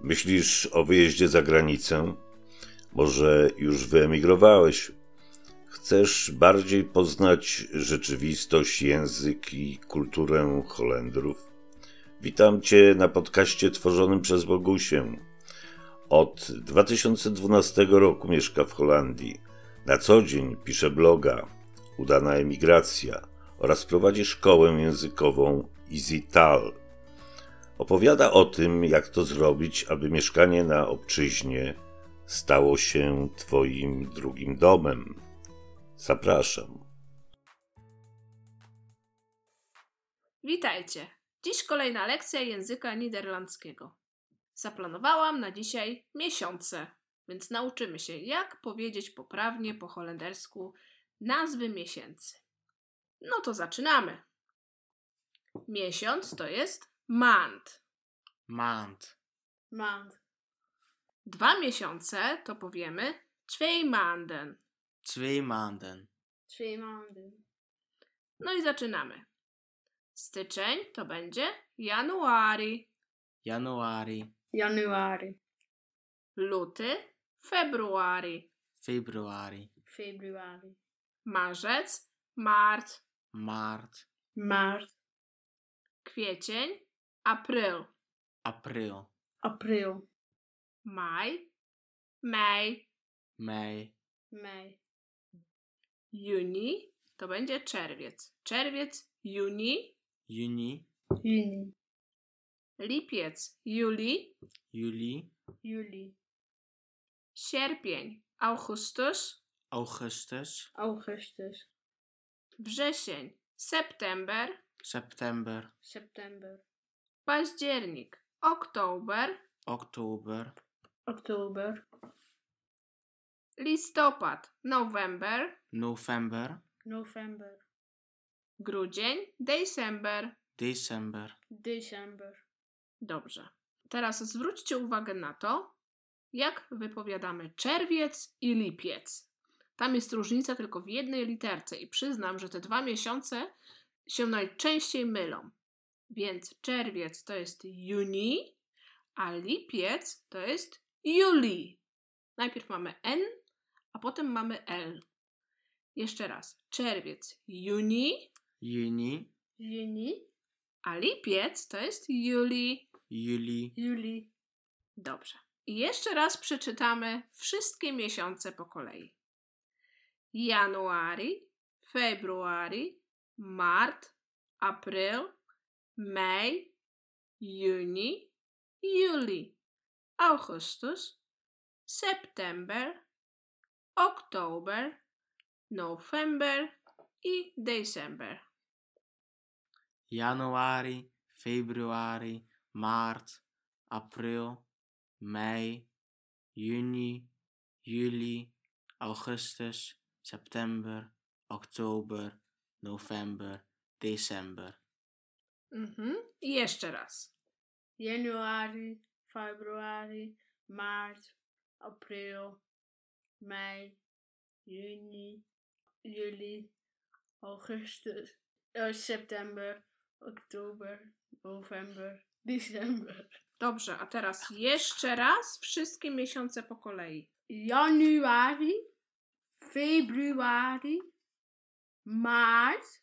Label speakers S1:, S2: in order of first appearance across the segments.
S1: Myślisz o wyjeździe za granicę? Może już wyemigrowałeś? Chcesz bardziej poznać rzeczywistość, język i kulturę Holendrów? Witam Cię na podcaście tworzonym przez Bogusię. Od 2012 roku mieszka w Holandii. Na co dzień pisze bloga Udana Emigracja oraz prowadzi szkołę językową EasyTal. Opowiada o tym, jak to zrobić, aby mieszkanie na obczyźnie stało się Twoim drugim domem. Zapraszam.
S2: Witajcie! Dziś kolejna lekcja języka niderlandzkiego. Zaplanowałam na dzisiaj miesiące, więc nauczymy się, jak powiedzieć poprawnie po holendersku nazwy miesięcy. No to zaczynamy. Miesiąc to jest maand.
S3: Maand.
S4: Maand.
S2: Dwa miesiące to powiemy twee maanden.
S3: Twee maanden.
S4: Twee maanden.
S2: No i zaczynamy. Styczeń to będzie januari,
S3: Januari,
S4: Januari.
S2: luty februari,
S3: februari,
S4: Februari.
S2: marzec maart,
S3: maart,
S4: Maart.
S2: kwiecień april,
S3: april,
S4: April.
S2: maj maj,
S3: mei,
S4: Mei.
S2: juni to będzie czerwiec, czerwiec juni,
S3: juni,
S4: Juni.
S2: lipiec juli,
S3: juli,
S4: Juli.
S2: sierpień augustus,
S3: augustus,
S4: Augustus.
S2: wrzesień september,
S3: september,
S4: September.
S2: październik oktober,
S3: oktober,
S4: Oktober.
S2: listopad november.
S3: november,
S4: November.
S2: Grudzień, december.
S3: december,
S4: December.
S2: Dobrze. Teraz zwróćcie uwagę na to, jak wypowiadamy czerwiec i lipiec. Tam jest różnica tylko w jednej literce i przyznam, że te dwa miesiące się najczęściej mylą. Więc czerwiec to jest juni, a lipiec to jest juli. Najpierw mamy N, a potem mamy L. Jeszcze raz. Czerwiec, juni,
S3: juni,
S4: Juni.
S2: a lipiec to jest juli.
S3: juli,
S4: Juli.
S2: Dobrze. I jeszcze raz przeczytamy wszystkie miesiące po kolei. Januari, februari, mart, april, maj, juni, juli, augustus, september, oktober, november i december.
S3: januari, februari, maart, april, mei, juni, juli, augustus, september, oktober, november, december.
S2: Mhm. I jeszcze raz.
S4: Januari. Februari. Maart. April. Mei. Juni. Juli. Augustus. eh, september. Oktober. November. December.
S2: Dobrze, a teraz jeszcze raz wszystkie miesiące po kolei.
S4: januari, februari, maart,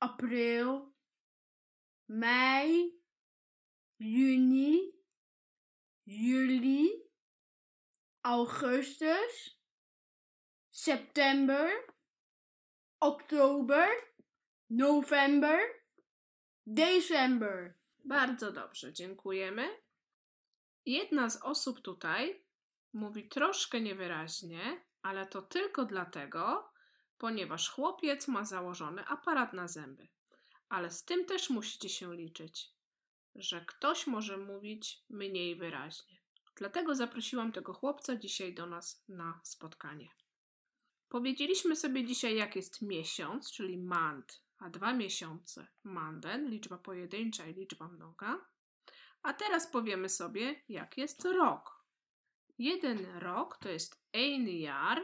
S4: april, mei, juni, juli, augustus, september, oktober, november, december.
S2: Bardzo dobrze, dziękujemy. Jedna z osób tutaj mówi troszkę niewyraźnie, ale to tylko dlatego, ponieważ chłopiec ma założony aparat na zęby. Ale z tym też musicie się liczyć, że ktoś może mówić mniej wyraźnie. Dlatego zaprosiłam tego chłopca dzisiaj do nas na spotkanie. Powiedzieliśmy sobie dzisiaj, jak jest miesiąc, czyli mand, a dwa miesiące manden, liczba pojedyncza i liczba mnoga. A teraz powiemy sobie, jak jest rok. Jeden rok to jest ein jaar,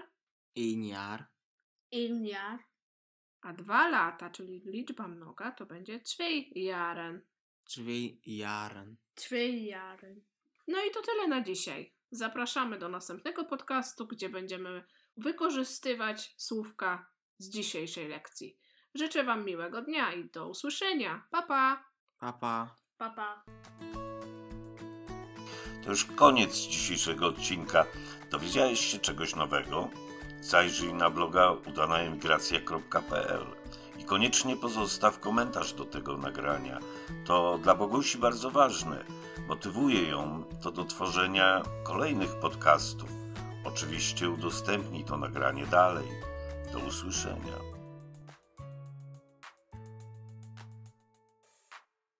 S3: Eén jaar,
S4: Een jaar,
S2: a dwa lata, czyli liczba mnoga, to będzie twee jaren.
S3: twee jaren,
S4: twee jaren,
S2: No i to tyle na dzisiaj. Zapraszamy do następnego podcastu, gdzie będziemy wykorzystywać słówka z dzisiejszej lekcji. Życzę Wam miłego dnia i do usłyszenia. Pa pa!
S3: Papa.
S4: Papa.
S1: To już koniec dzisiejszego odcinka. Dowiedziałeś się czegoś nowego? Zajrzyj na bloga udanaemigracja.pl i koniecznie pozostaw komentarz do tego nagrania. To dla Bogusi bardzo ważne. Motywuje ją to do tworzenia kolejnych podcastów. Oczywiście udostępnij to nagranie dalej. Do usłyszenia.